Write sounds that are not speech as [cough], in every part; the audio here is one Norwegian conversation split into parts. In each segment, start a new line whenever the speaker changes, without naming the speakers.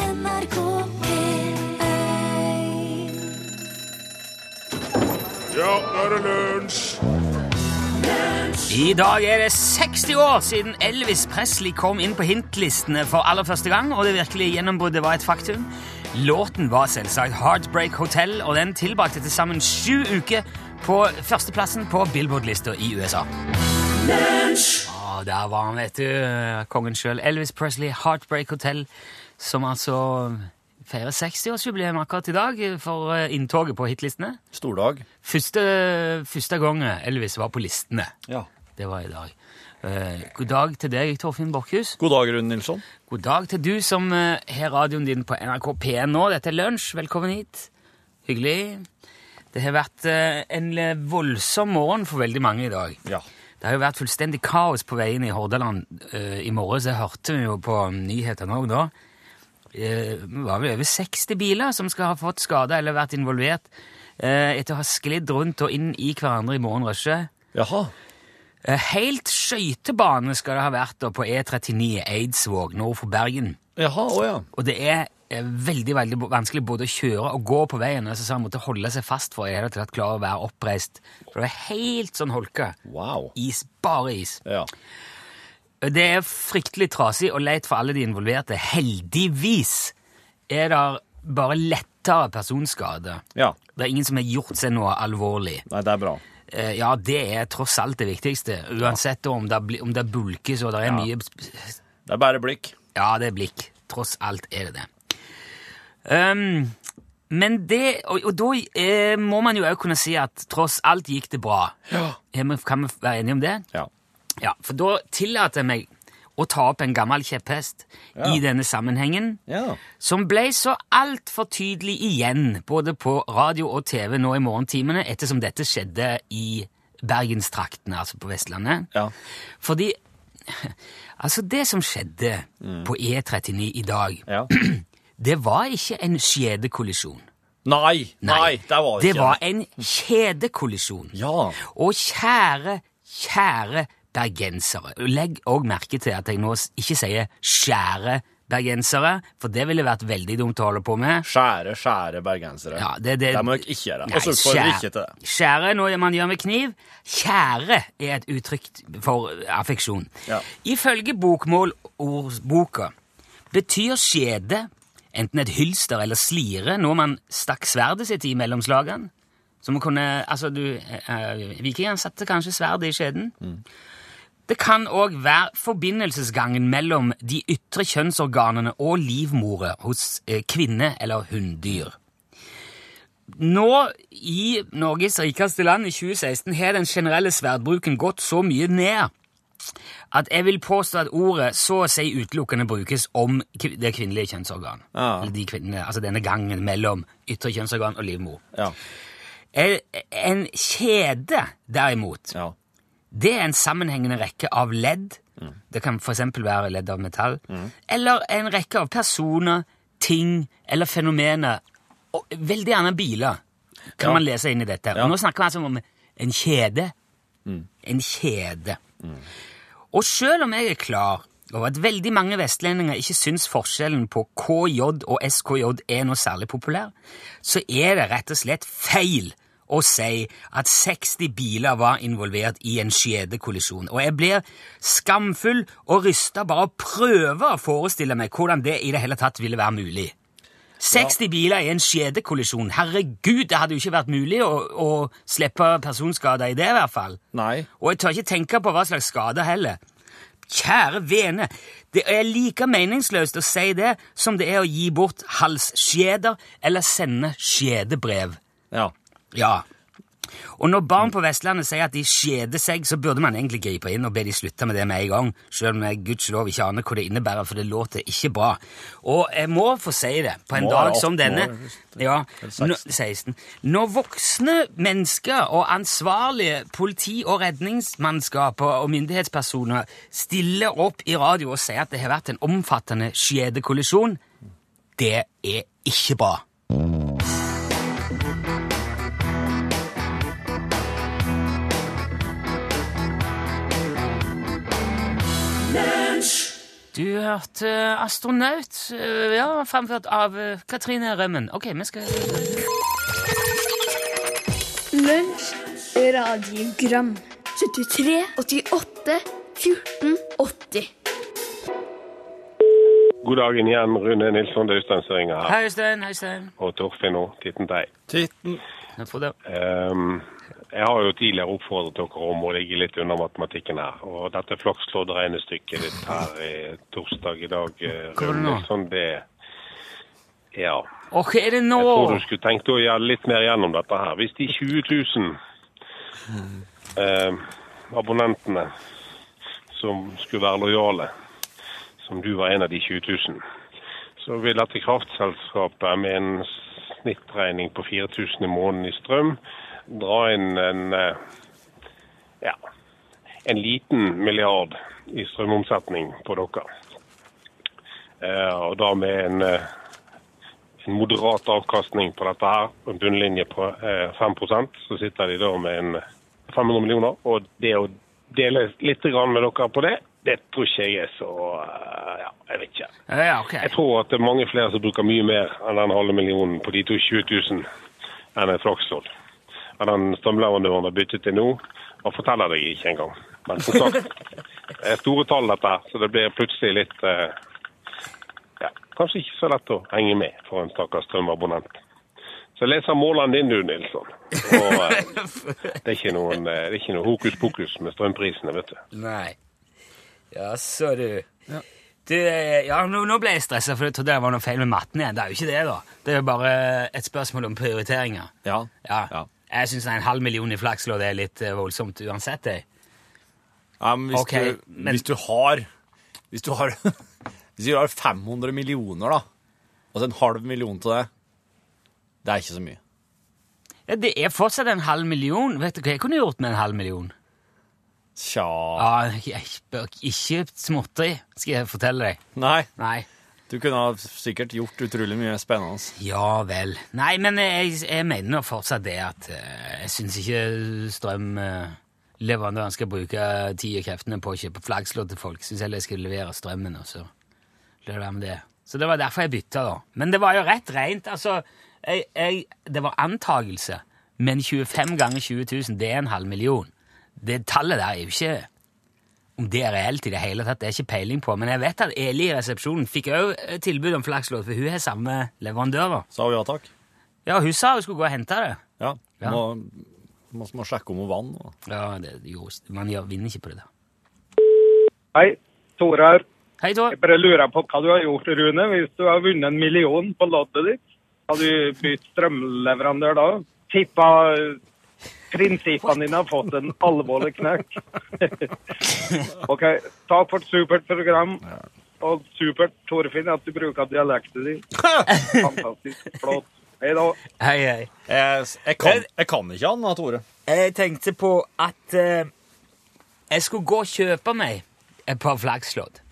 NRK P1
Ja, nå er det lunsj!
I dag er det 60 år siden Elvis Presley kom inn på hintlistene for aller første gang, og det virkelige gjennombruddet var et faktum. Låten var selvsagt Heartbreak Hotel, og den tilbrakte til sammen sju uker på førsteplassen på Billboard-lista i USA. Å, der var han, vet du. Kongen sjøl. Elvis Presley, Heartbreak Hotel, som altså feirer 60-årsjubileum akkurat i dag for eh, inntoget på hitlistene.
Stordag.
Første, første gang eh, Elvis var på listene.
Ja.
Det var i dag. Eh, god dag til deg, Torfinn Borchhus.
God dag, Rune Nilsson.
God dag til du som eh, har radioen din på NRK P1 nå. Dette er lunsj. Velkommen hit. Hyggelig. Det har vært eh, en eh, voldsom morgen for veldig mange i dag.
Ja.
Det har jo vært fullstendig kaos på veien i Hordaland eh, i morges. Jeg hørte jo på um, nyhetene òg da. Eh, Det var vel over 60 biler som skal ha fått skader eller vært involvert eh, etter å ha sklidd rundt og inn i hverandre i morgenrushet.
Jaha.
Eh, Helt skøytebane skal det ha vært da på E39 Eidsvåg nord for Bergen.
Jaha, å ja.
Og det er eh, veldig veldig bo- vanskelig både å kjøre og gå på veien. og Så sa han måtte holde seg fast for i det hele tatt klare å være oppreist. For det er helt sånn holke.
Wow.
Is, bare is. Eh,
Ja.
Det er fryktelig trasig og leit for alle de involverte. Heldigvis er det bare lettere personskade.
ja.
Det er ingen som har gjort seg noe alvorlig.
Nei, det er bra.
Eh, Ja, det er tross alt det viktigste. Uansett om det, bli- om det bulkes og det er mye
Det er bare blikk.
Ja, det er blikk. Tross alt er det det. Ehm, men det Og, og da eh, må man jo òg kunne si at tross alt gikk det bra.
Ja.
Er vi- Kan vi være enige om det?
Ja.
Ja, For da tillater jeg meg å ta opp en gammel kjepphest
Ja.
i denne sammenhengen,
Ja.
som ble så altfor tydelig igjen både på radio og TV nå i morgentimene, ettersom dette skjedde i bergenstraktene, altså på Vestlandet.
Ja.
Fordi [laughs] Altså, det som skjedde
Mm.
på E39 i dag,
ja.
det var ikke en kjedekollisjon.
Nei, nei, det var
det
ikke
var en kjedekollisjon.
Ja.
Og kjære, kjære bergensere Legg òg merke til at jeg nå s- ikke sier 'skjære bergensere', for det ville vært veldig dumt å holde på med.
Skjære, skjære bergensere.
Ja, det, det,
må dere ikke gjøre.
Nei,
Og så får dere
skjære-
ikke til det.
Skjære er noe man gjør med kniv. Kjære er et uttrykk for affeksjon.
Ja.
Ifølge bokmålordboka betyr skjede enten et hylster eller slire når man stakk sverdet sitt i mellom slagene. Som kunne, altså du, eh, Vikingene satte kanskje sverdet i skjeden.
Mm.
Det kan òg være forbindelsesgangen mellom de ytre kjønnsorganene og livmoret hos eh, kvinne- eller hunndyr. Nå i Norges rikeste land i 2016 har den generelle sverdbruken gått så mye ned at jeg vil påstå at ordet så å si utelukkende brukes om kv- det kvinnelige kjønnsorgan.
Ja.
Eller de kvinne, altså denne gangen mellom ytre kjønnsorgan og livmor.
Ja.
En- En kjede, derimot,
Ja.
det er en sammenhengende rekke av ledd.
Mm.
Det kan f.eks. være ledd av metall. Eller en rekke av personer, ting eller fenomener. Og veldig gjerne biler, kan
Ja.
man lese inn i dette.
Ja. Mm.
Og nå snakker vi altså om en kjede. En kjede. Og selv om jeg er klar over at veldig mange vestlendinger ikke syns forskjellen på KJ og SKJ er noe særlig populær, så er det rett og slett feil å si at 60 biler var involvert i en skjedekollisjon. Og jeg blir skamfull og rysta bare av å prøve å forestille meg hvordan det i det hele tatt ville være mulig. 60 biler i en skjedekollisjon. Herregud, det hadde jo ikke vært mulig å, å slippe personskader i det, i hvert fall.
Nei.
Og jeg tør ikke tenke på hva slags skade heller. Kjære vene, det er like meningsløst å si det som det er å gi bort halsskjeder eller sende skjedebrev.
Ja.
Ja. Og når barn på Vestlandet sier at de skjeder seg, så burde man egentlig gripe inn og be de slutte med det med en gang, selv om jeg gudskjelov ikke aner hva det innebærer, for det låter ikke bra. Og jeg må få si det, på en
Nå er
dag
det
som
18
denne
år, hvis det-
ja,
eller
nå-
16.
16. Når voksne mennesker og ansvarlige politi- og redningsmannskaper og myndighetspersoner stiller opp i radio og sier at det har vært en omfattende skjedekollisjon, det er ikke bra. Du hørte Astronaut, eh, ja, fremført av eh, Katrine Rømmen. Ok, vi skal
Lunsj, radiogram 73, 88, 14, 80
God dagen igjen, Rune Nilsson. Det er Øystein Søringa her.
Hei, Øystein. Hei, Øystein.
Og Torfinn òg. Titten tei.
Titten.
Jeg tror det.
Ehm, jeg har jo tidligere oppfordret dere om å ligge litt under matematikken her. Og dette flakslodd-regnestykket ditt her i torsdag i dag, eh,
Hva var det
Rune
nå?
Nilsson, det Ja.
Å, hva er det nå?
Jeg tror du skulle tenkt å gjøre litt mer gjennom dette her. Hvis de 20 000 eh, abonnentene som skulle være lojale, som du var en av de 20 000, så vil dette kraftselskapet med en snittregning på 4000 i måneden i strøm dra inn en eh, ja, en liten milliard i strømomsetning på dere. Eh, og da med en eh, en moderat avkastning på dette her, en bunnlinje på eh, 5 så sitter de da med en 500 millioner. Og det å dele litt grann med dere på det, det tror ikke jeg er så eh, Ja, jeg vet ikke.
Ja, ok.
Jeg tror at det er mange flere som bruker mye mer enn den halve millionen på de to 20 000 enn en flakslodd. Men den strømleverandøren har byttet til nå, han forteller deg ikke engang. Men som sagt, det er store tall dette, her, så det blir plutselig litt eh, ja, Kanskje ikke så lett å henge med for en stakkars strømabonnent. Så jeg leser målene dine, du, Nilsson. Og, eh, det, er ikke noen, eh, det er ikke noe hokus pokus med strømprisene, vet du.
[laughs] Nei. Ja, så du. Du, eh, ja, nå, nå ble jeg stressa, for jeg trodde det var noe feil med matten igjen. Det er jo ikke det, da. Det er jo bare et spørsmål om prioriteringer.
Ja.
Ja.
Ja.
Jeg syns en halv million i flakslodd er litt eh, voldsomt uansett, jeg.
Ja, men hvis,
Ok,
du,
men-
hvis du har Hvis du har [laughs] Hvis du har 500 millioner, da, og så en halv million til det Det er ikke så mye.
Ja, det er fortsatt en halv million. Vet du hva jeg kunne gjort med en halv million?
Tja
Ja, Ah, jeg bør ikke småtteri, skal jeg fortelle deg.
Nei,
Nei.
du kunne ha sikkert gjort utrolig mye spennende.
Ja vel. Nei, men jeg, jeg mener nå fortsatt det at eh, jeg syns ikke strømleverandøren skal bruke tid og kreftene på å kjøpe flaggslått til folk. Syns heller jeg skal levere strømmen, og så lar det med det. Så det var derfor jeg bytta, da. Men det var jo rett rent. Altså, jeg, jeg, det var antagelse. Men 25 ganger 20 000, det er en halv million. Det tallet der er jo ikke om det er reelt i det hele tatt, det er ikke peiling på. Men jeg vet at Eli i resepsjonen fikk også tilbud om flakslodd, for hun har samme leverandører.
Sa hun ja takk?
Ja, hun sa hun skulle gå og hente det.
Ja.
Ja.
Må, må, må sjekke om hun vant. [laughs] da.
Ja, det, jo, man gjør- vinner ikke på det der.
Hei, Tore her.
Hei, Tor.
Jeg bare lurer på hva du har gjort, Rune. Hvis du har vunnet en million på loddet ditt, har du bytt strømleverandør da? Tippa prinsippene dine har fått en alvorlig knekk. OK, takk for et supert program. Og supert, Torfinn, at du bruker dialekten din. Fantastisk flott. Hei da.
Hei, hei.
Jeg, jeg, kan, jeg kan ikke han, da, Tore.
Jeg tenkte på at eh, jeg skulle gå og kjøpe meg et par flakslodd.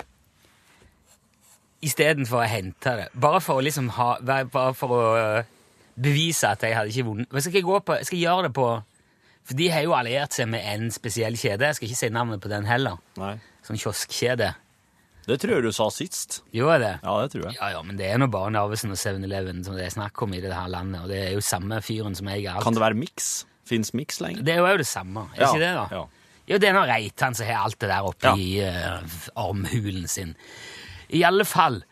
Istedenfor å hente det. Bare for å liksom ha Bare bare for å eh, bevise at jeg hadde ikke vunnet. Men skal jeg, gå på, skal jeg gjøre det på For de har jo alliert seg med en spesiell kjede. Jeg skal ikke si navnet på den heller.
Nei.
Sånn kioskkjede.
Det tror jeg du sa sist.
Gjør jeg det?
Ja, det tror jeg.
Ja, ja, men det er nå bare Narvesen og 7-Eleven som det er snakk om i det her landet, og det er jo samme fyren som eier alt.
Kan det være miks? Fins miks lenger?
Det er jo det samme, er ikke det da?
Ja.
Jo, det er nå Reitan som har alt det der oppe
Ja.
i eh, armhulen sin. I alle fall,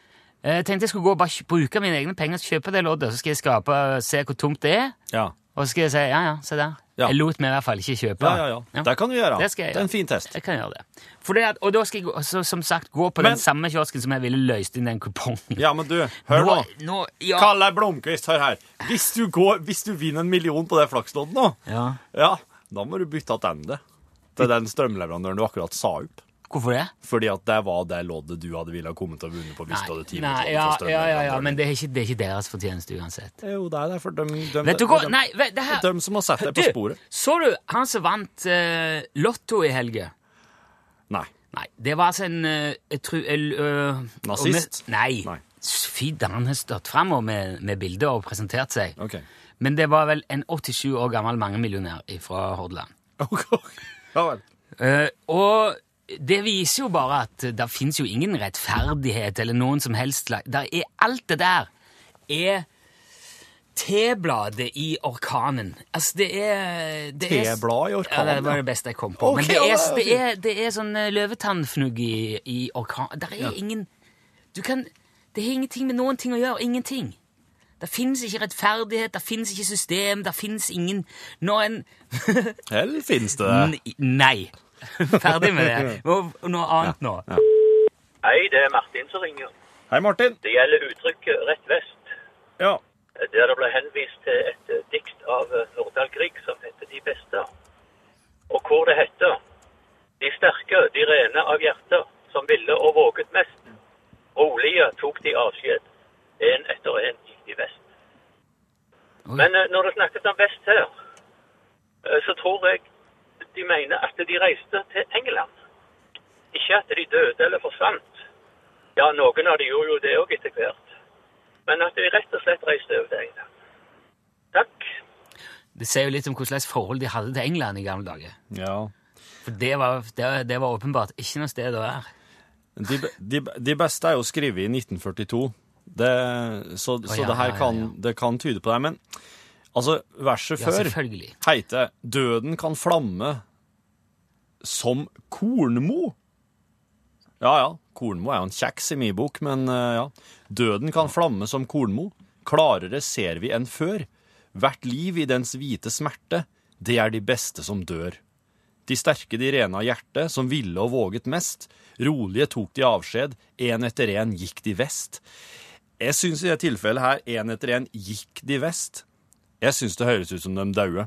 eh, jeg tenkte jeg skulle gå og bare kj- bruke mine egne penger og kjøpe det loddet, så skal jeg skape, eh, se hvor tomt det er,
Ja.
og så skal jeg si, ja, ja, se der.
Ja.
Jeg lot meg i hvert fall ikke kjøpe.
Ja, ja, ja. Det kan du gjøre.
Det skal jeg
det er
gjøre.
en fin test.
Jeg kan gjøre det. For det at, og da skal jeg gå- så, som sagt gå på
Men-
den samme kiosken som jeg ville løst inn den kupongen.
Ja, men du, hør nå.
Nå, nå, ja.
Kalle Blomkvist, hør her. Hvis du, går, hvis du vinner en million på det flaksloddet nå,
Ja.
da må du bytte tilbake til den strømleverandøren du akkurat sa opp.
Hvorfor det?
Fordi at det var det loddet du hadde ville ha kommet til å vinne på hvis du hadde timet
nei,
loddet fra
ja, ja, ja, ja,
strømleverandøren.
men det er, ikke, det er ikke deres fortjeneste uansett.
Jo, det er derfor de, de,
Vet du hva?
de,
Nei, vet, det her
de som har sett deg på
Du,
sporet.
Så du han som vant eh, Lotto i helga?
[laughs] Nei.
Nei, det var altså en eh, jeg tror, el- øh,
Nazist?
og med- Nei.
Nei.
Fy da, han har stått fram og med, med bilder og presentert seg.
Ok.
Men det var vel en 87 år gammel mangemillionær fra Hordaland.
ja vel.
Eh, og det viser jo bare at det fins jo ingen rettferdighet eller noen som helst slag. Der er alt det der er T-bladet i orkanen. Altså, det er det er-
T-blad i orkanen,
Ja, det var det beste jeg kom på.
Ok,
Men det
ja,
er,
det er
det er, det er sånn eh, løvetannfnugg i, i orkanen. Der er ingen Du kan Det har ingenting med noen ting å gjøre. Ingenting. Det fins ikke rettferdighet, det fins ikke system, det fins ingen Når en
Eller finnes det det?
N- Nei. [laughs] Ferdig med det. Nå- Noe annet nå.
Hei, det er Martin som ringer.
Hei, Martin.
Det gjelder uttrykket 'rett vest',
Ja.
der det ble henvist til et eh, dikt av eh, Nordahl Grieg som heter 'De beste', og hvor det heter 'De sterke, de rene av hjerte, som ville og våget mest', rolige tok de avskjed, en etter en gikk de vest.
Oi.
Men eh, når det snakkes om vest her, eh, så tror jeg de mener at de reiste til England. Ikke at de døde eller forsvant. Ja, noen av de gjorde jo det òg etter hvert. Men at de rett og slett reiste over til England. Takk.
Det sier jo litt om hvordan slags forhold de hadde til England i gamle dager.
ja.
For det var, det, det var åpenbart ikke noe sted å være.
De, be- de, be- de beste er jo skrevet i 1942, det, så, så
ja,
det her
ja, ja,
kan,
ja.
Det kan tyde på det. Men altså, verset
Ja,
før
selvfølgelig.
heter 'Døden kan flamme som kornmo'. Ja ja, kornmo er jo en kjeks i min bok, men eh, ja. 'Døden kan flamme som kornmo'. Klarere ser vi enn før. Hvert liv i dens hvite smerte, det er de beste som dør. De sterke, de rene av hjerte, som ville og våget mest. Rolige tok de avskjed, en etter en gikk de vest. Jeg syns i det tilfellet her, en etter en gikk de vest. Jeg syns det høres ut som de daue.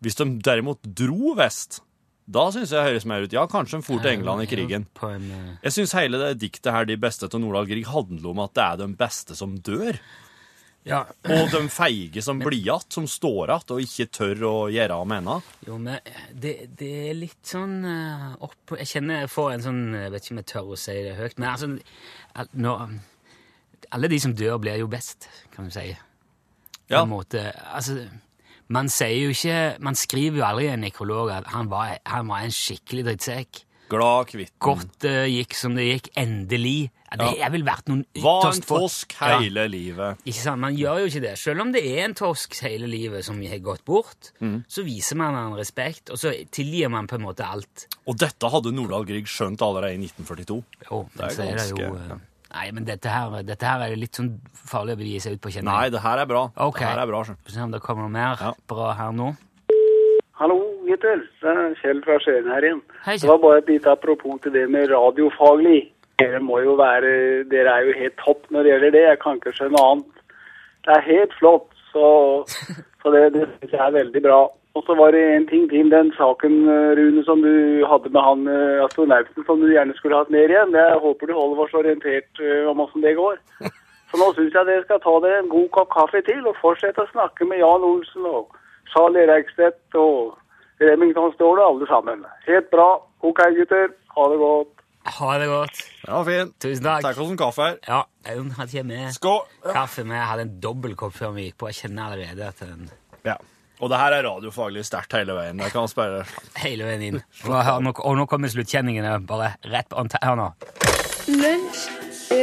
Hvis de derimot dro vest, da syns jeg det høres mer ut. Ja, kanskje de for til England i krigen.
På en, eh,
Jeg syns hele det diktet her, De beste til Nordahl Grieg, handler om at det er de beste som dør.
ja,
Og de feige
[laughs]
som blir igjen, som står igjen og ikke tør å gjøre av med henne.
jo, men det, det er litt sånn eh, opp... Jeg kjenner jeg får en sånn Jeg vet ikke om jeg tør å si det høyt, men altså al- når, Alle de som dør, blir jo best, kan du si. På
Ja.
en måte. Altså, man sier jo ikke Man skriver jo aldri i en nekrolog at han var, han var en skikkelig drittsekk.
Glad kvitt.
Godt eh, gikk som det gikk. Endelig. Ja, det
Ja.
er vel vært noen
Var en
ytterst få-
tosk
Ja.
hele livet.
Ikke sant? Man gjør jo ikke det. Selv om det er en torsk hele livet som har gått bort,
Mm.
så viser man han respekt, og så tilgir man på en måte alt.
Og dette hadde Nordahl Grieg skjønt allerede i 1942.
Jo, men
Det er
så er det jo
ganske-
eh,
ja.
Nei, men dette her, dette her er jo litt sånn farlig å gi seg ut på kjenning.
Nei, det her er bra.
Ok.
Det her er bra, skjønner du.
Få se om det kommer noe mer
Ja.
bra her nå.
Hallo, gutter. Det er Kjell fra Skien her igjen.
Hei, Kjell.
Det var bare et lite apropos til det med radiofaglig. Dere må jo være Dere er jo helt topp når det gjelder det. Jeg kan ikke skjønne annet. Det er helt flott. Så, så det, det synes jeg er veldig bra. Og så var det en ting til. Den saken, eh, Rune, som du hadde med han eh, astronauten som du gjerne skulle hatt ned igjen. Jeg håper du holder oss orientert eh, om åssen det går. Så nå syns jeg dere skal ta dere en god kopp kaffe til og fortsette å snakke med Jan Olsen og Charlie Reikstedt og Remington Ståle, alle sammen. Helt bra. OK, gutter. Ha det godt.
Ha det godt.
Ja, fint.
Tusen takk.
Takk for en kaffe her.
Ja, hun hadde ikke med
Skål.
kaffe med. Jeg hadde en dobbel kopp før vi gikk på. Jeg kjenner allerede at den
Ja. Og det her er radiofaglig sterkt hele veien. Jeg kan spørre.
hele veien inn. Og her- nå- og nå kommer sluttkjenningene bare rett on ta- Hør nå.
Lunsj,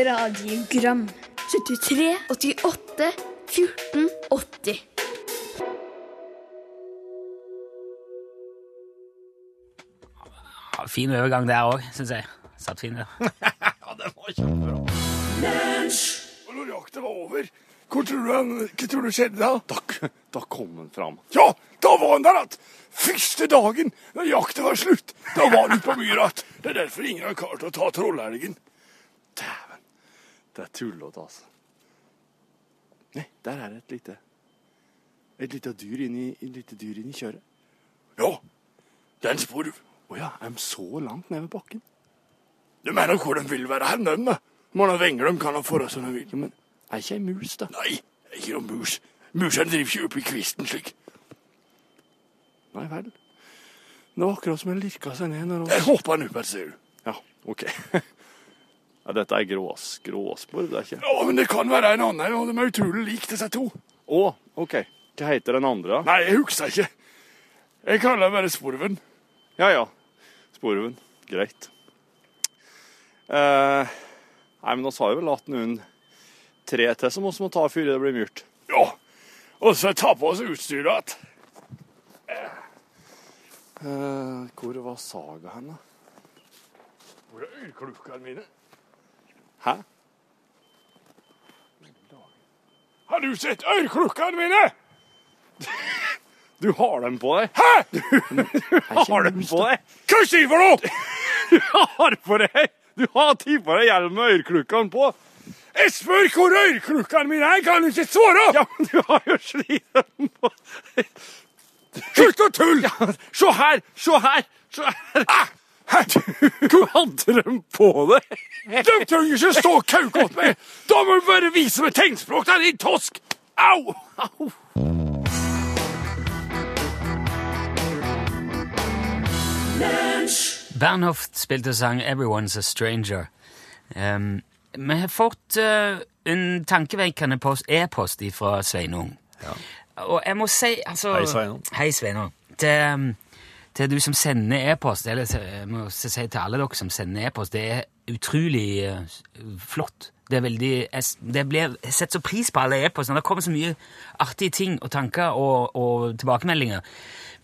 radiogram 73, 88, 14, 80.
Ja, Fin overgang der òg, syns jeg. Satt fin der.
Ja, det var kjempebra.
Og når jakten var over, hvor tror du, han, hva tror du skjedde da? da? Da kom han fram. Ja, da var han der att! Første dagen når jakten var slutt, da var han ute på myra att. Det er derfor ingen har klart å ta trollelgen. Dæven, det er tullete, altså. Nei, der er det et lite Et lite dyr inni, et lite dyr inni kjøret. Ja, det er en sporv. Å ja, er de så langt ned ved bakken? Du mener hvor de vil være hen, dem, da? Må de venger dem, kan de føre som de vil. Men er ikke ei mus, da? Nei, det er ikke noe mus. Musene driver ikke opp i kvisten slik. Nei vel. Det var akkurat som en lirka seg ned når Der hoppa han opp her, ser du. Ja, OK. [laughs] dette er grås, gråspor, det er ikke Ja, men det kan være en annen, og de er utrolig like, disse to. Å, OK. Hva heter den andre? Nei, jeg husker ikke. Jeg kaller den bare Sporven. Ja ja. Sporven. Greit.
Eh, nei, men oss har jo vel hatt noen tre til som oss må ta før det blir mørkt.
Ja. Og så ta på oss utstyret igjen.
Eh, hvor var Saga hen, da?
Hvor er urklukkene mine?
Hæ?
Har du sett ørklukkene mine?
Du har dem på deg!
Hæ?
Har dem på deg!
Hva sier du for noe?
Du har på deg! Du har tatt på deg hjelm med øreklukkene på!
Jeg spør hvor ørklukkene mine er, kan du ikke svare?
Ja, men du har jo slitt dem på!
Slutt å tulle! Ah,
Se her! Se her! Se her! Du hadde dem på deg!
De trenger ikke stå og kauke opp meg. Da må du bare vise meg tegnspråk, da, din tosk! Au!
Bernhoft spilte og sang 'Everyone's a Stranger'. Ehm, vi har fått eh, en tankevekkende post- e-post fra Sveinung. Og jeg må si altså,
Hei, Sveinung.
Hei, Sveinung. Til, ehm, til du som sender e-post, eller til- jeg må også si til alle dere som sender e-post, det er utrolig eh, s- flott. Det, er veldig, jeg s- det blir jeg setter så pris på alle e-postene. Det kommer så mye artige ting og tanker og, og tilbakemeldinger.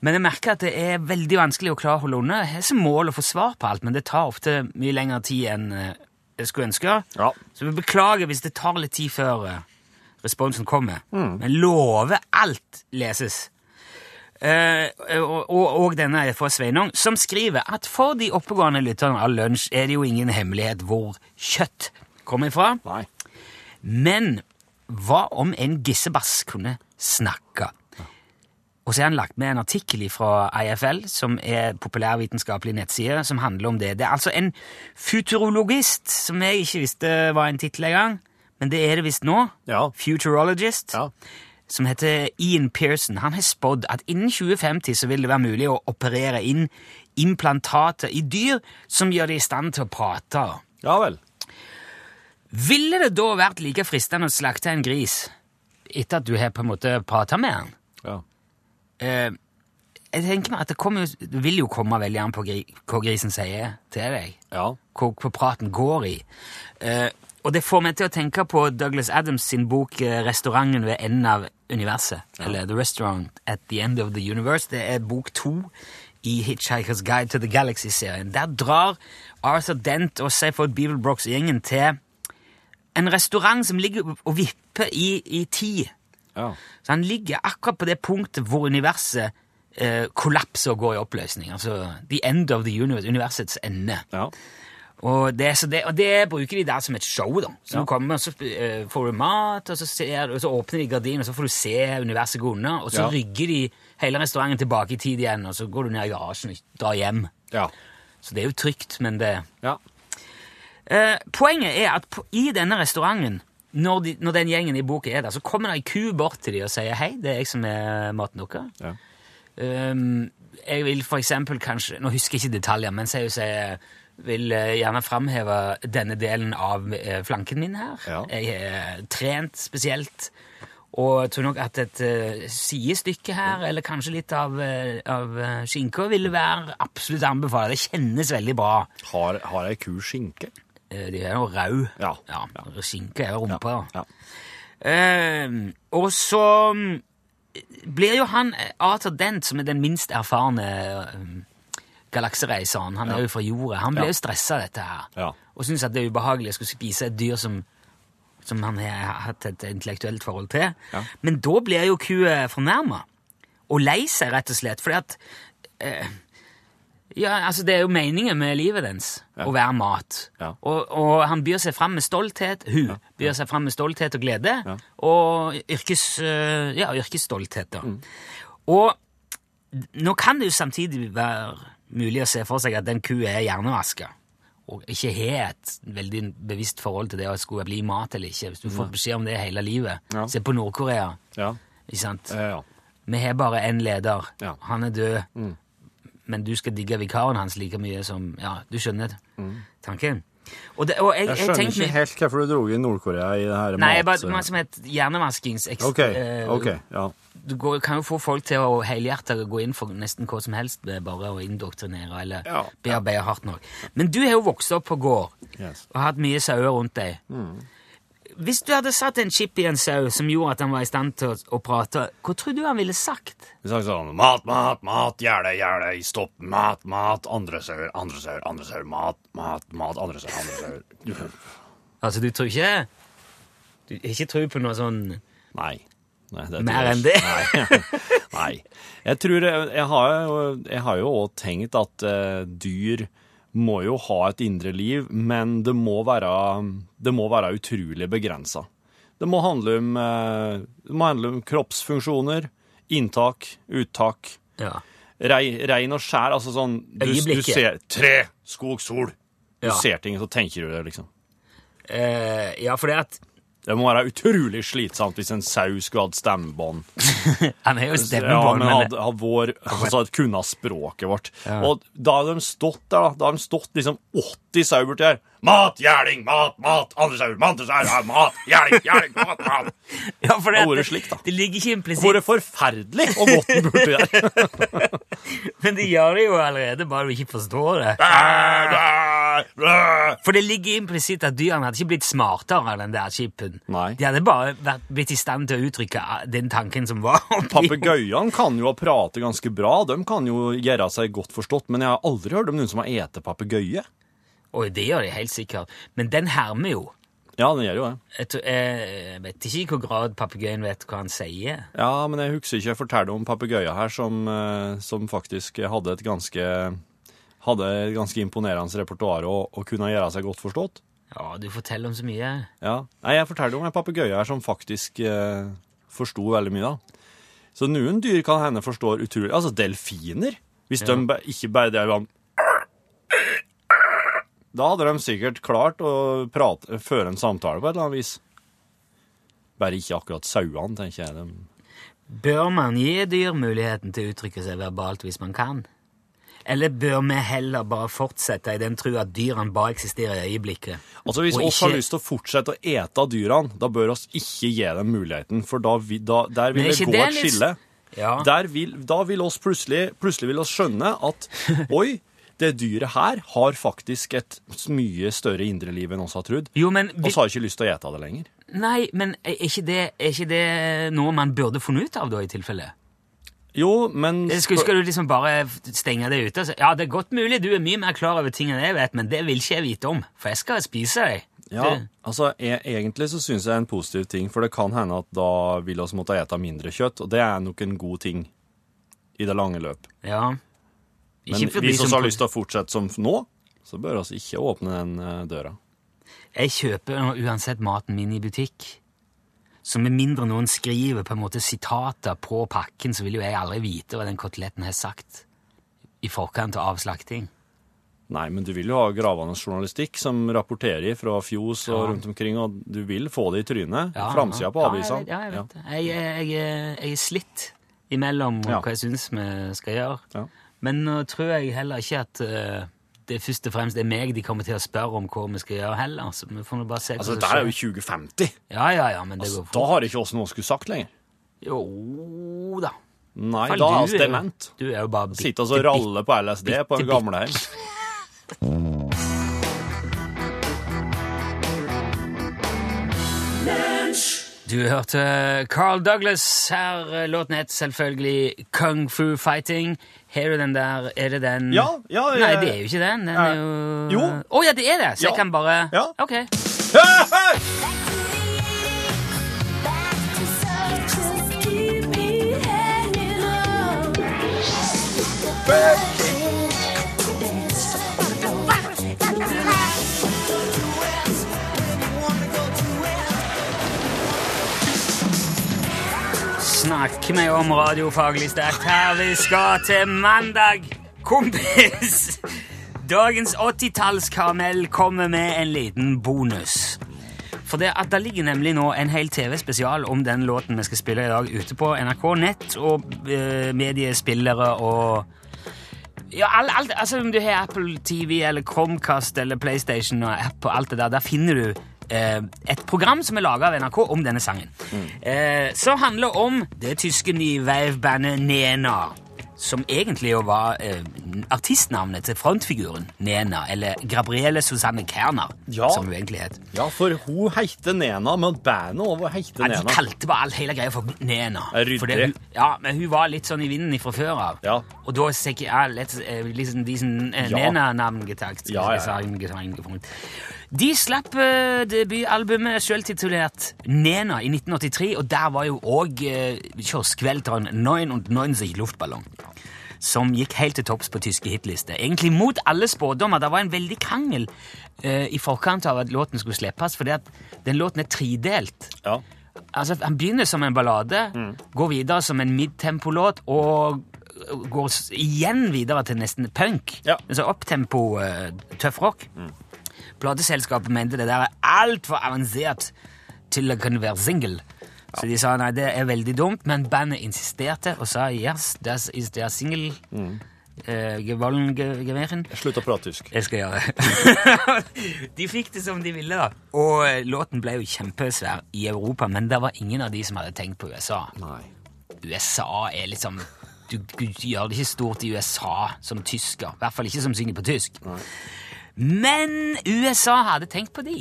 Men jeg merker at det er veldig vanskelig å klare å holde unna. Jeg har som mål å få svar på alt, men det tar ofte mye lengre tid enn eh, jeg skulle ønske.
Ja.
Så vi beklager hvis det tar litt tid før eh, responsen kommer. Men lover alt leses. Eh, og, og, og denne er fra Sveinung, som skriver at for de oppegående lytterne av lunsj er det jo ingen hemmelighet hvor kjøtt kommer fra.
Nei.
Men hva om en gissebass kunne snakke? Og så har han lagt med en artikkel fra IFL, som er populærvitenskapelig nettside, som handler om det. Det er altså en futurologist, som jeg ikke visste var en tittel engang, men det er det visst nå.
Ja.
Futurologist
Ja.
som heter Ian Pearson, han har spådd at innen 2050 så vil det være mulig å operere inn implantater i dyr som gjør de i stand til å prate.
Ja vel.
Ville det da vært like fristende å slakte en gris etter at du har på en måte prata med den?
Ja.
Eh, jeg tenker meg at det, kommer jo, det vil jo komme veldig an på gri, hva grisen sier til deg
ja.
hvor, hvor praten går i. Eh, og det får meg til å tenke på Douglas Adams sin bok eh, 'Restauranten ved enden av universet'. Eller 'The Restaurant at the End of the Universe'. Det er bok to i 'Hitchhiker's Guide to the Galaxy'-serien. Der drar Arthur Dent og Seyford Beaverbrox-gjengen til en restaurant som ligger og vipper i, i tid.
ja.
Så han ligger akkurat på det punktet hvor universet eh, kollapser og går i oppløsning. Altså the end of the universe, universets ende.
ja.
Og det, så det, og det bruker de der som et show, da. Så du kommer, og så eh, får du mat, og så, ser, og så åpner de gardinen, og så får du se universet gå unna, og så
Ja.
rygger de hele restauranten tilbake i tid igjen, og så går du ned i garasjen og drar hjem.
ja.
Så det er jo trygt, men det
ja.
Eh, Poenget er at på, i denne restauranten, når, de, når den gjengen i boka er der, så kommer det ei ku bort til dem og sier 'hei, det er jeg som er maten deres'.
Ja.
Ehm, jeg vil for eksempel kanskje Nå husker jeg ikke detaljer, men jeg sier vil eh, gjerne framheve denne delen av eh, flanken min her.
Ja.
Jeg er trent spesielt. Og jeg tror nok at et eh, sidestykke her, eller kanskje litt av, eh, av eh, skinka, ville være absolutt anbefalt. Det kjennes veldig bra.
Har, har ei ku skinke?
Eh, De er jo rau.
Ja.
ja. Skinke er jo rumpa.
Ja.
Ehm, og så mm, blir jo han eh, Arthur Dent, som er den minst erfarne ehm, galaksereiseren, han er jo fra jorda, han ble
Ja.
jo stressa av dette her.
Ja.
Og syntes at det er ubehagelig å skulle spise et dyr som, som han har hatt et intellektuelt forhold til.
Ja.
Men da blir jo kua fornærma og lei seg, rett og slett, fordi at eh, ja, altså Det er jo meningen med livet dens
Ja.
å være mat.
Ja.
Og, og han byr seg fram med stolthet. Hun byr seg fram med stolthet og glede.
Ja.
Og yrkes, eh, ja, yrkesstolthet, da.
Mm.
Og nå kan det jo samtidig være mulig å se for seg at den kua er hjernevaska, og ikke har et veldig bevisst forhold til det å skulle bli mat eller ikke. Hvis du får beskjed om det hele livet.
Ja.
Se på Nord-Korea.
Ja.
ikke sant?
Eh, ja.
Vi har bare én leder.
Ja. Mm.
Han er død. Men du skal digge vikaren hans like mye som Ja, du skjønner tanken? Og, det, og
Mm. Jeg
jeg, jeg,
skjønner
tenkte
ikke
meg-
helt hvorfor du dro i Nord-Korea i det her
Nei, jeg bare,
mat-
noe som het hjernevaskings...
OK. ok, ja.
eh, du går, kan jo få folk til å helhjertet gå inn for nesten hva som helst ved bare å indoktrinere eller
Ja.
bearbeide hardt nok. Men du har jo vokst opp på gård
Yes.
og hatt mye sauer rundt deg. Hvis du hadde satt en chip i en sau som gjorde at han var i stand til å, å prate, hva tror du han ville sagt?
Vi snakker sånn Mat, mat, mat, gjerde, gjerde, stopp, mat, mat, andre sauer, andre sauer, andre sauer, mat, mat, mat, andre sauer, andre sauer.
Altså, du tror ikke Du har ikke tro på noe sånn
Nei. Nei det tror
Mer
jeg
enn
ikke. Nei. [laughs] Nei. Jeg tror jeg, jeg har jo Jeg har jo òg tenkt at eh, dyr må jo ha et indre liv, men det må være, det må være utrolig begrensa. Det må handle om eh, Det må handle om kroppsfunksjoner, inntak, uttak.
Ja.
Rei, rein og skjær, altså sånn du, du
Øyeblikket.
ser tre, skog, sol. Du
Ja.
ser ting, så tenker du det, liksom.
Eh, ja, for det at
Det må være utrolig slitsomt hvis en sau skulle hatt stemmebånd.
Han har jo
Altså, Ja,
stemmebånd,
men
men
hadde, hadde vår, altså hadde kunna språket vårt.
Ja.
Og da hadde de stått der, da. Da hadde de stått liksom 80 sauer borti her. Mat, gjerning, mat, mat, andre sauer, mat, andre sauer, ja, mat, gjerning, gjerning, mat, mat.
[laughs] ja, for
Det
det,
har
at
vært slik, da.
det ligger ikke
Det
implisitt,
vært forferdelig å gått den borti der.
men de gjør det jo allerede, bare du ikke forstår det. For det ligger implisitt at dyrene hadde ikke blitt smartere enn den der chipen.
[laughs] Nei.
De hadde bare vært, blitt i stand til å uttrykke ah, den tanken som var [laughs] oppi.
Papegøyene kan jo prate ganske bra, de kan jo gjøre seg godt forstått, men jeg har aldri hørt om noen som har ete papegøye.
Oi, det gjør de helt sikkert. Men den hermer jo.
Ja, den gjør jo det.
Jeg, tror, eh, jeg vet ikke i hvor grad papegøyen vet hva han sier.
Ja, men jeg husker ikke jeg fortalte om papegøya her, som, eh, som faktisk hadde et ganske hadde et ganske imponerende repertoar og, og kunne gjøre seg godt forstått.
Ja, du forteller om så mye.
Ja. Nei, jeg fortalte om en papegøye her som faktisk eh, forsto veldig mye, da. Så noen dyr kan hende forstår utrolig Altså delfiner. Hvis de ba- ikke bare drev sånn Da hadde de sikkert klart å prate, føre en samtale på et eller annet vis. Bare ikke akkurat sauene, tenker jeg. De
Bør man gi dyr muligheten til å uttrykke seg verbalt hvis man kan? Eller bør vi heller bare fortsette i den tro at dyrene bare eksisterer i øyeblikket?
Altså Hvis
Og
oss har
ikke-
lyst til å fortsette å ete av dyrene, da bør oss ikke gi dem muligheten, for da, vi, da der
Men
vil
er
det
ikke
gå
det
et
litt-
skille.
Ja.
Der vil, da vil oss plutselig, plutselig vil oss skjønne
[laughs]
at oi, det dyret her har faktisk et mye større indre liv enn oss har trodd.
Jo, men vi,
Vi har ikke lyst til å ete av det lenger.
Nei, men er ikke, det, er ikke det noe man burde funnet ut av, da, i tilfelle?
Jo, men
Skal, skal du liksom bare stenge det ute? og si, Ja, det er godt mulig du er mye mer klar over ting enn jeg vet, men det vil ikke jeg vite om, for jeg skal spise deg.
Ja,
Det-
altså e egentlig så syns jeg det er en positiv ting, for det kan hende at da vil oss måtte ete mindre kjøtt, og det er nok en god ting i det lange løp.
ja.
Men
for de
hvis vi
som-
har lyst til å fortsette som nå, så bør vi ikke åpne den eh, døra.
Jeg kjøper nå uansett maten min i butikk. Så med mindre noen skriver på en måte sitater på pakken, så vil jo jeg aldri vite hva den koteletten har sagt i forkant av slakting.
Nei, men du vil jo ha gravende journalistikk som rapporterer fra fjos og rundt omkring, og du vil få det i trynet.
Ja,
Framsida på Altså, avisene.
ja. Ja, jeg vet, ja, jeg vet det. Jeg, jeg, jeg, jeg er slitt imellom
Ja.
hva jeg syns vi skal gjøre.
Ja.
Men nå tror jeg heller ikke at eh, det først og fremst er meg de kommer til å spørre om hva vi skal gjøre, heller. Så vi får nå bare se hva
Altså,
som
dette er jo
skjer.
2050.
Ja, ja, ja, men det
Da
går fort.
har ikke oss noe skulle sagt lenger.
Jo da.
Nei,
Fall,
da er
du
oss
jo-
dement.
Du er jo bare bitte,
Sitte og så ralle på LSD på en
bitte- [laughs]
gamlehjem.
Du hørte Carl Douglas her. Låten het selvfølgelig Kung Fu Fighting. Har du den der Er det den
Ja, ja, jeg-
Nei, det er jo ikke den. Den er jo
Jo.
Å ja, det er det! Så
Ja.
jeg kan bare
Ja.
Ok. Snakk meg om radiofaglig sterkt. Her vi skal til mandag, kompis! Dagens 80-tallskaramell kommer med en liten bonus. For det at det ligger nemlig nå en hel TV-spesial om den låten vi skal spille i dag ute på NRK Nett og eh, mediespillere og ja, alt, alt, altså om du har Apple TV eller Chromecast eller PlayStation og app og alt det der, der finner du eh, et program som er laga av NRK om denne sangen. Eh, som handler om det tyske nyveivbandet Nena. Som egentlig jo var eh, artistnavnet til frontfiguren Nena, eller Gabriele Susanne Kerner,
Ja.
som hun egentlig het.
Ja, for hun heter Nena, men bandet over heter
Ja, de
Nena.
kalte bare all hele greia for Nena.
Ja, ryddig.
Fordi hun, ja, men hun var litt sånn i vinden fra før av.
Ja.
Og da sikkert ja, litt, eh, liksom de som eh,
Ja.
Nena-navn getakt.
Ja, ja, ja.
sagen, gesang, gefunnet. De slapp eh, debutalbumet selvtitulert Nena i 1983, og der var jo òg eh, kioskvelteren 99 Luftballon. Som gikk helt til topps på tyske hitlister. Egentlig mot alle spådommer. Det var en veldig krangel eh, i forkant av at låten skulle slippes, fordi at den låten er tredelt.
Ja.
Altså, han begynner som en ballade, går videre som en midtempolåt, og går s- igjen videre til nesten punk.
Ja.
Altså opptempo, eh, tøff rock. Plateselskapet mente det der er altfor avansert til å kunne være single. Så de sa nei, det er veldig dumt, men bandet insisterte og sa yes, this is their single. Mm. gewollen ge- gewesen.
Slutt å prate tysk.
Jeg skal gjøre det. [laughs] de fikk det som de ville, da. Og eh, låten ble jo kjempesvær i Europa, men det var ingen av de som hadde tenkt på USA.
Nei.
USA er liksom du, du gjør det ikke stort i USA som tysker. I hvert fall ikke som synger på tysk. Men USA hadde tenkt på de.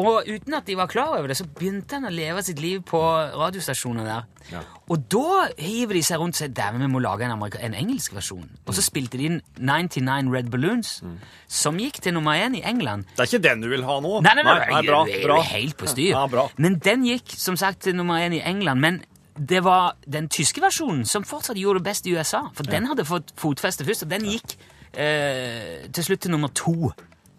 Og uten at de var klar over det, så begynte han å leve sitt liv på radiostasjoner der. Og da hiver de seg rundt og sier dæven, vi må lage en, amerika- en engelsk versjon. Og så spilte de inn 99 Red Balloons, som gikk til nummer én i England.
Det er ikke den du vil ha nå.
Nei, nei, nei,
nei bra,
jeg, jeg,
bra.
er helt på styr.
Ja, bra.
Men den gikk som sagt til nummer én i England. Men det var den tyske versjonen som fortsatt gjorde det best i USA. For den hadde fått fotfeste først, og den gikk eh, til slutt til nummer to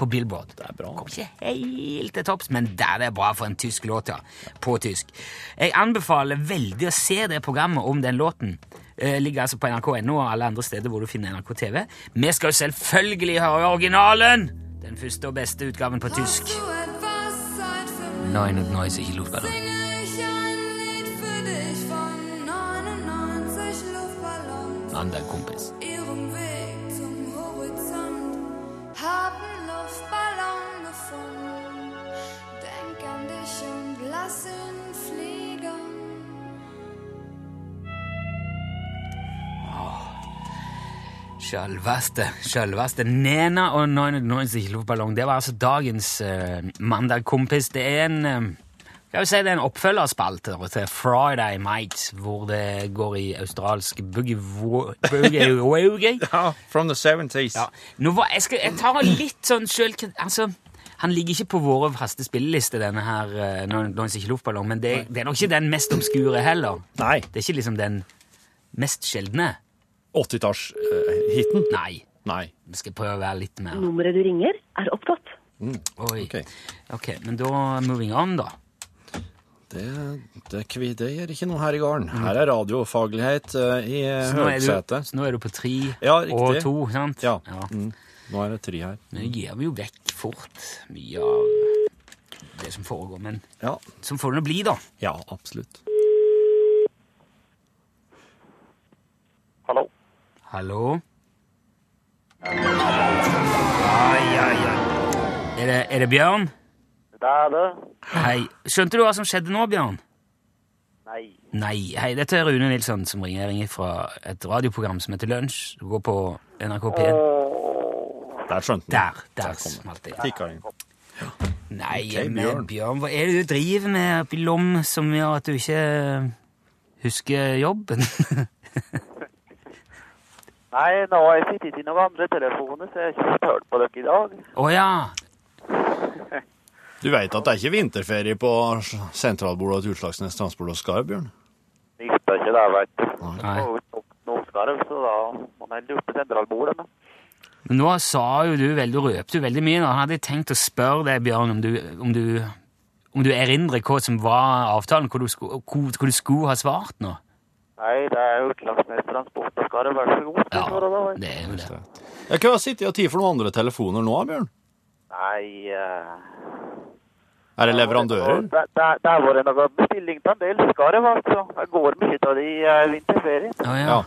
på Billboard. Det
er bra.
Kom ikke helt til topps, men der er det bra for en tysk låt, ja. På tysk. Jeg anbefaler veldig å se det programmet om den låten. Eh, ligger altså på nrk.no og alle andre steder hvor du finner NRK TV. Vi skal jo selvfølgelig høre originalen! Den første og beste utgaven på tysk. Nein und Neuse i Luftballon. Ander kompis. Sjølveste, sjølveste Nena og 99 Luftballon. Det var altså dagens eh, mandagkompis. Det er en eh, skal vi si det er en oppfølgerspalte til Friday Night, hvor det går i australsk boogie wo- boogie woogie.
Ja, from the 70s.
Ja. Nå var, jeg, skal, jeg tar han litt sånn sjøl... Altså, han ligger ikke på våre faste spillelister, denne her eh, Nå nå er det ikke luftballong, men det, det er nok ikke den mest obskure heller.
Nei.
Det er ikke liksom den mest sjeldne.
80-tallshiten?
Nei.
eh, Nei.
Vi skal prøve å være litt
Mm.
mer
Nummeret du ringer, er opptatt.
Oi.
Ok.
ok, men da moving on, da.
Det, det, kvi- det gjør ikke noe her i gården. Her er radiofaglighet eh, i
Så nå, er du,
høgsetet.
så nå er du på tre
Ja,
og
riktig.
to, sant?
Ja. Mm. Nå er det tre her.
Nå gir vi jo vekk fort mye av det som foregår, men
Ja,
sånn får det nå bli, da.
ja absolutt.
Hallo.
Hallo? Ai, ai, ai. Er det, er det Bjørn?
Det er det.
Hei. Skjønte du hva som skjedde nå, Bjørn?
Nei.
Nei. Hei, dette er Rune Nilsson som ringer. Jeg ringer fra et radioprogram som heter Lunsj. Du går på NRK P1.
Der skjønte den.
Der. Der smalt det.
Tikka inn.
Nei,
Ok,
men Bjørn.
Bjørn.
hva er det du driver med oppi lom som gjør at du ikke husker jobben? [laughs]
Nei, nå har jeg sittet i noen andre telefoner, så jeg har ikke hørt på dere i dag.
Å ja.
Du veit at det er ikke vinterferie på sentralbordet til Utslagsnes Transport og Skarv, Bjørn?
Visste ikke det, vet du.
Nei.
Det var jo nok noe skarv, så da må man lure på sentralbordet. Men
Men nå sa jo du veldig, du røpte jo veldig mye. Nå hadde jeg tenkt å spørre deg, Bjørn, om du, om du, om du erindrer hva som var avtalen, hva du, sko, hva, hva du skulle ha svart nå.
nei, det er jo Utslagsnes Transport og Skarv, vær så god.
Ja,
skal du ha, da, vet du.
det er jo det.
Jeg kunne ha sittet og tid for noen andre telefoner nå, Bjørn.
Nei eh,
Er det leverandører?
Der der- der var det noe bestilling på en del skarv, altså. Det går mye av de i eh, vinterferie.
Å, ja.
Ja.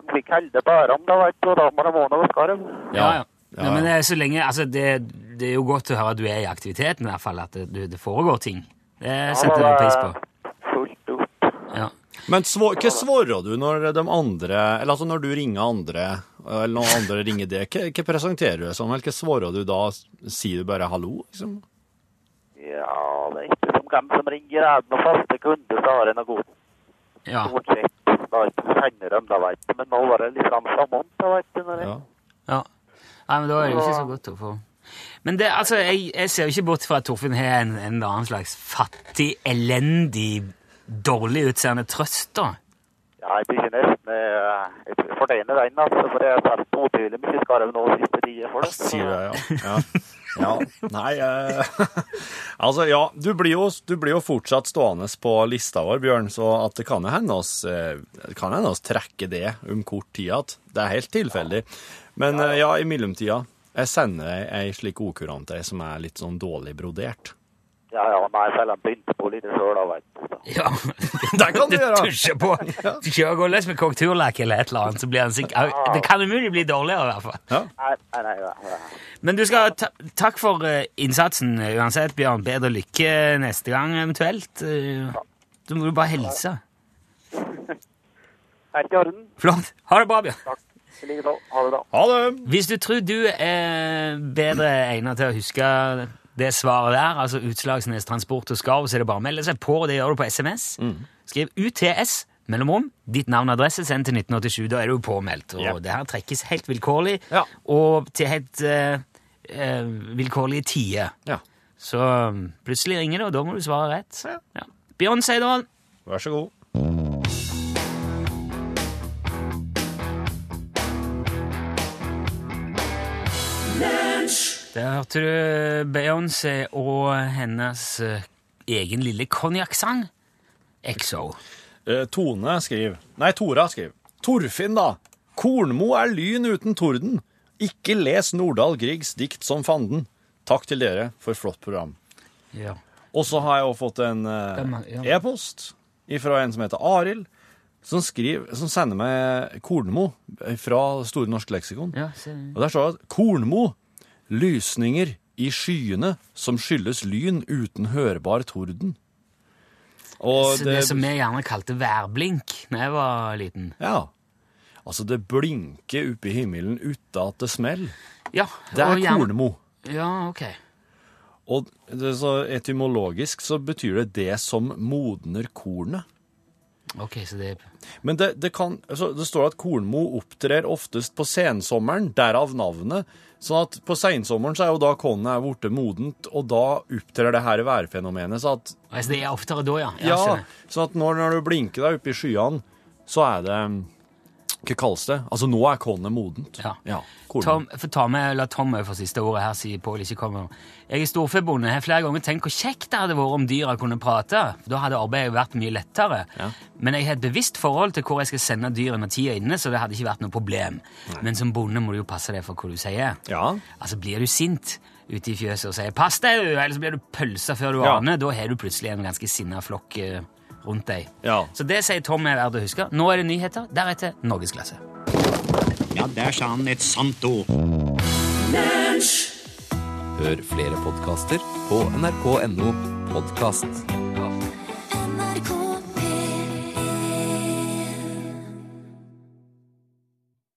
De blir kalde på ørene, da, vet du, og da må det være noe skarv.
Ja, ja.
Ja,
Nei,
ja.
men det er så lenge Altså, det, det er jo godt å høre at du er i aktiviteten, i hvert fall. At det, du- det foregår ting. Det
da,
setter vi
det
pris
er
på.
Fullt opp.
Ja.
Men svå- hva svarer du når de andre Eller altså når du ringer andre, eller når andre ringer deg, hva, hva presenterer du deg som? Eller hva svarer du da? Sier du bare hallo, liksom?
Ja, det er ikke som hvem som ringer. Er det noen faste kunder, så har jeg noe godt.
ja.
Stort sett. Da er det ikke kjenner dem, da vet du. Men nå var det litt sånn sammen, da vet du. Når jeg...
Ja.
Ja. Nei, men da er det jo ikke så godt å få Men det, altså, jeg, jeg ser jo ikke bort fra at Torfinn har en, en annen slags fattig, elendig, dårlig utseende trøst, da.
Ja, jeg blir nesten eh, Jeg fortjener den, altså, for jeg har spilt motvillig mye skarv nå siste tida for det.
Sier jeg, ja. ja. ja. Nei eh, [laughs] Altså, ja. Du blir, jo, du blir jo fortsatt stående på lista vår, Bjørn, så at det kan jo hende oss, eh, det kan hende oss trekke det om kort tid igjen. Det er helt tilfeldig. Men eh, ja, i mellomtida Jeg sender ei- ei slik okurant til ei som er litt sånn dårlig brodert.
Ja, ja, nei, selv om jeg begynte på litt sjøl, da, vet du. Så.
[laughs] Ja.
Det kan du gjøre.
Tusje på. Kjør gå løs med korrekturlakk eller et eller annet, så blir han sikker. Det kan umulig bli dårligere, i hvert fall.
Nei, nei, nei, nei, nei.
Men du skal ha ta takk for eh, innsatsen eh, uansett, Bjørn. Bedre lykke neste gang eventuelt. Eh, Du må jo bare helse.
Helt i orden.
Flott. Ha det bra, Bjørn.
I like måte. Ha det bra.
Ha det!
Hvis du tror du er bedre egnet til å huske det svaret der, altså Utslagsnes Transport og Skarv, så er det bare å melde seg på. og Det gjør du på SMS.
Mm.
Skriv UTS mellomrom, ditt navn og adresse, send til 1987. Da er du påmeldt. Og
Ja.
det her trekkes helt vilkårlig,
Ja.
og til helt eh, eh, vilkårlige tider.
Ja,
Så um, plutselig ringer det, og da må du svare rett. Ja. Beyoncé, da.
vær så god.
Der hørte du Beyoncé og hennes eh, egen lille konjakksang. XO.
Eh, Tone skriver Nei, Tora skriver Torfinn, da! Kornmo er lyn uten torden. Ikke les Nordahl Griegs dikt som fanden. Takk til dere for flott program.
Ja.
Og så har jeg også fått en
Hvem
eh,
er- ja.
e-post fra en som heter Arild, som, skriver- som sender meg Kornmo fra Store norske leksikon.
Ja, se.
Og der står det at Kornmo, lysninger i skyene som skyldes lyn uten hørbar torden. Og
Så det, som vi gjerne kalte værblink da jeg var liten.
Ja. Altså, det blinker oppe i himmelen uten at det smeller.
Ja,
Det er
og gjerne-
Kornmo.
Ja, ok.
Og det, så etymologisk så betyr det 'det som modner kornet'.
Ok, så det er...
Men det, det, kan, altså, det står at Kornmo opptrer oftest på sensommeren, derav navnet. Sånn at på sensommeren så er jo da kornet er blitt modent, og da opptrer det her værfenomenet. Så at,
Altså, det er oftere da, ja. Jeg
ja,
skjønner.
sånn at når, når du blinker deg oppe i skyene, så er det mm, Hva kalles det? Altså, nå er kornet modent.
Ja.
kornmo.
Tom, for ta med, la Tom over for siste ordet her, sier Pål ikke kommer. Jeg er storfebonde. Jeg har flere ganger tenkt hvor kjekt det hadde vært om dyra kunne prate. For da hadde arbeidet vært mye lettere. Men jeg har et bevisst forhold til hvor jeg skal sende dyret når tida er inne, så det hadde ikke vært noe problem. Men som bonde må du jo passe deg for hva du sier.
Ja.
Altså, blir du sint ute i fjøset og sier 'pass deg', du», eller så blir du pølsa før du
Ja.
aner, da har du plutselig en ganske sinna flokk eh, rundt deg.
Ja.
Så det sier Tom er verdt å huske. Nå er det nyheter, deretter norgesklasse.
Ja, der sa han et sant ord.
Hør flere podkaster på nrk.no podkast.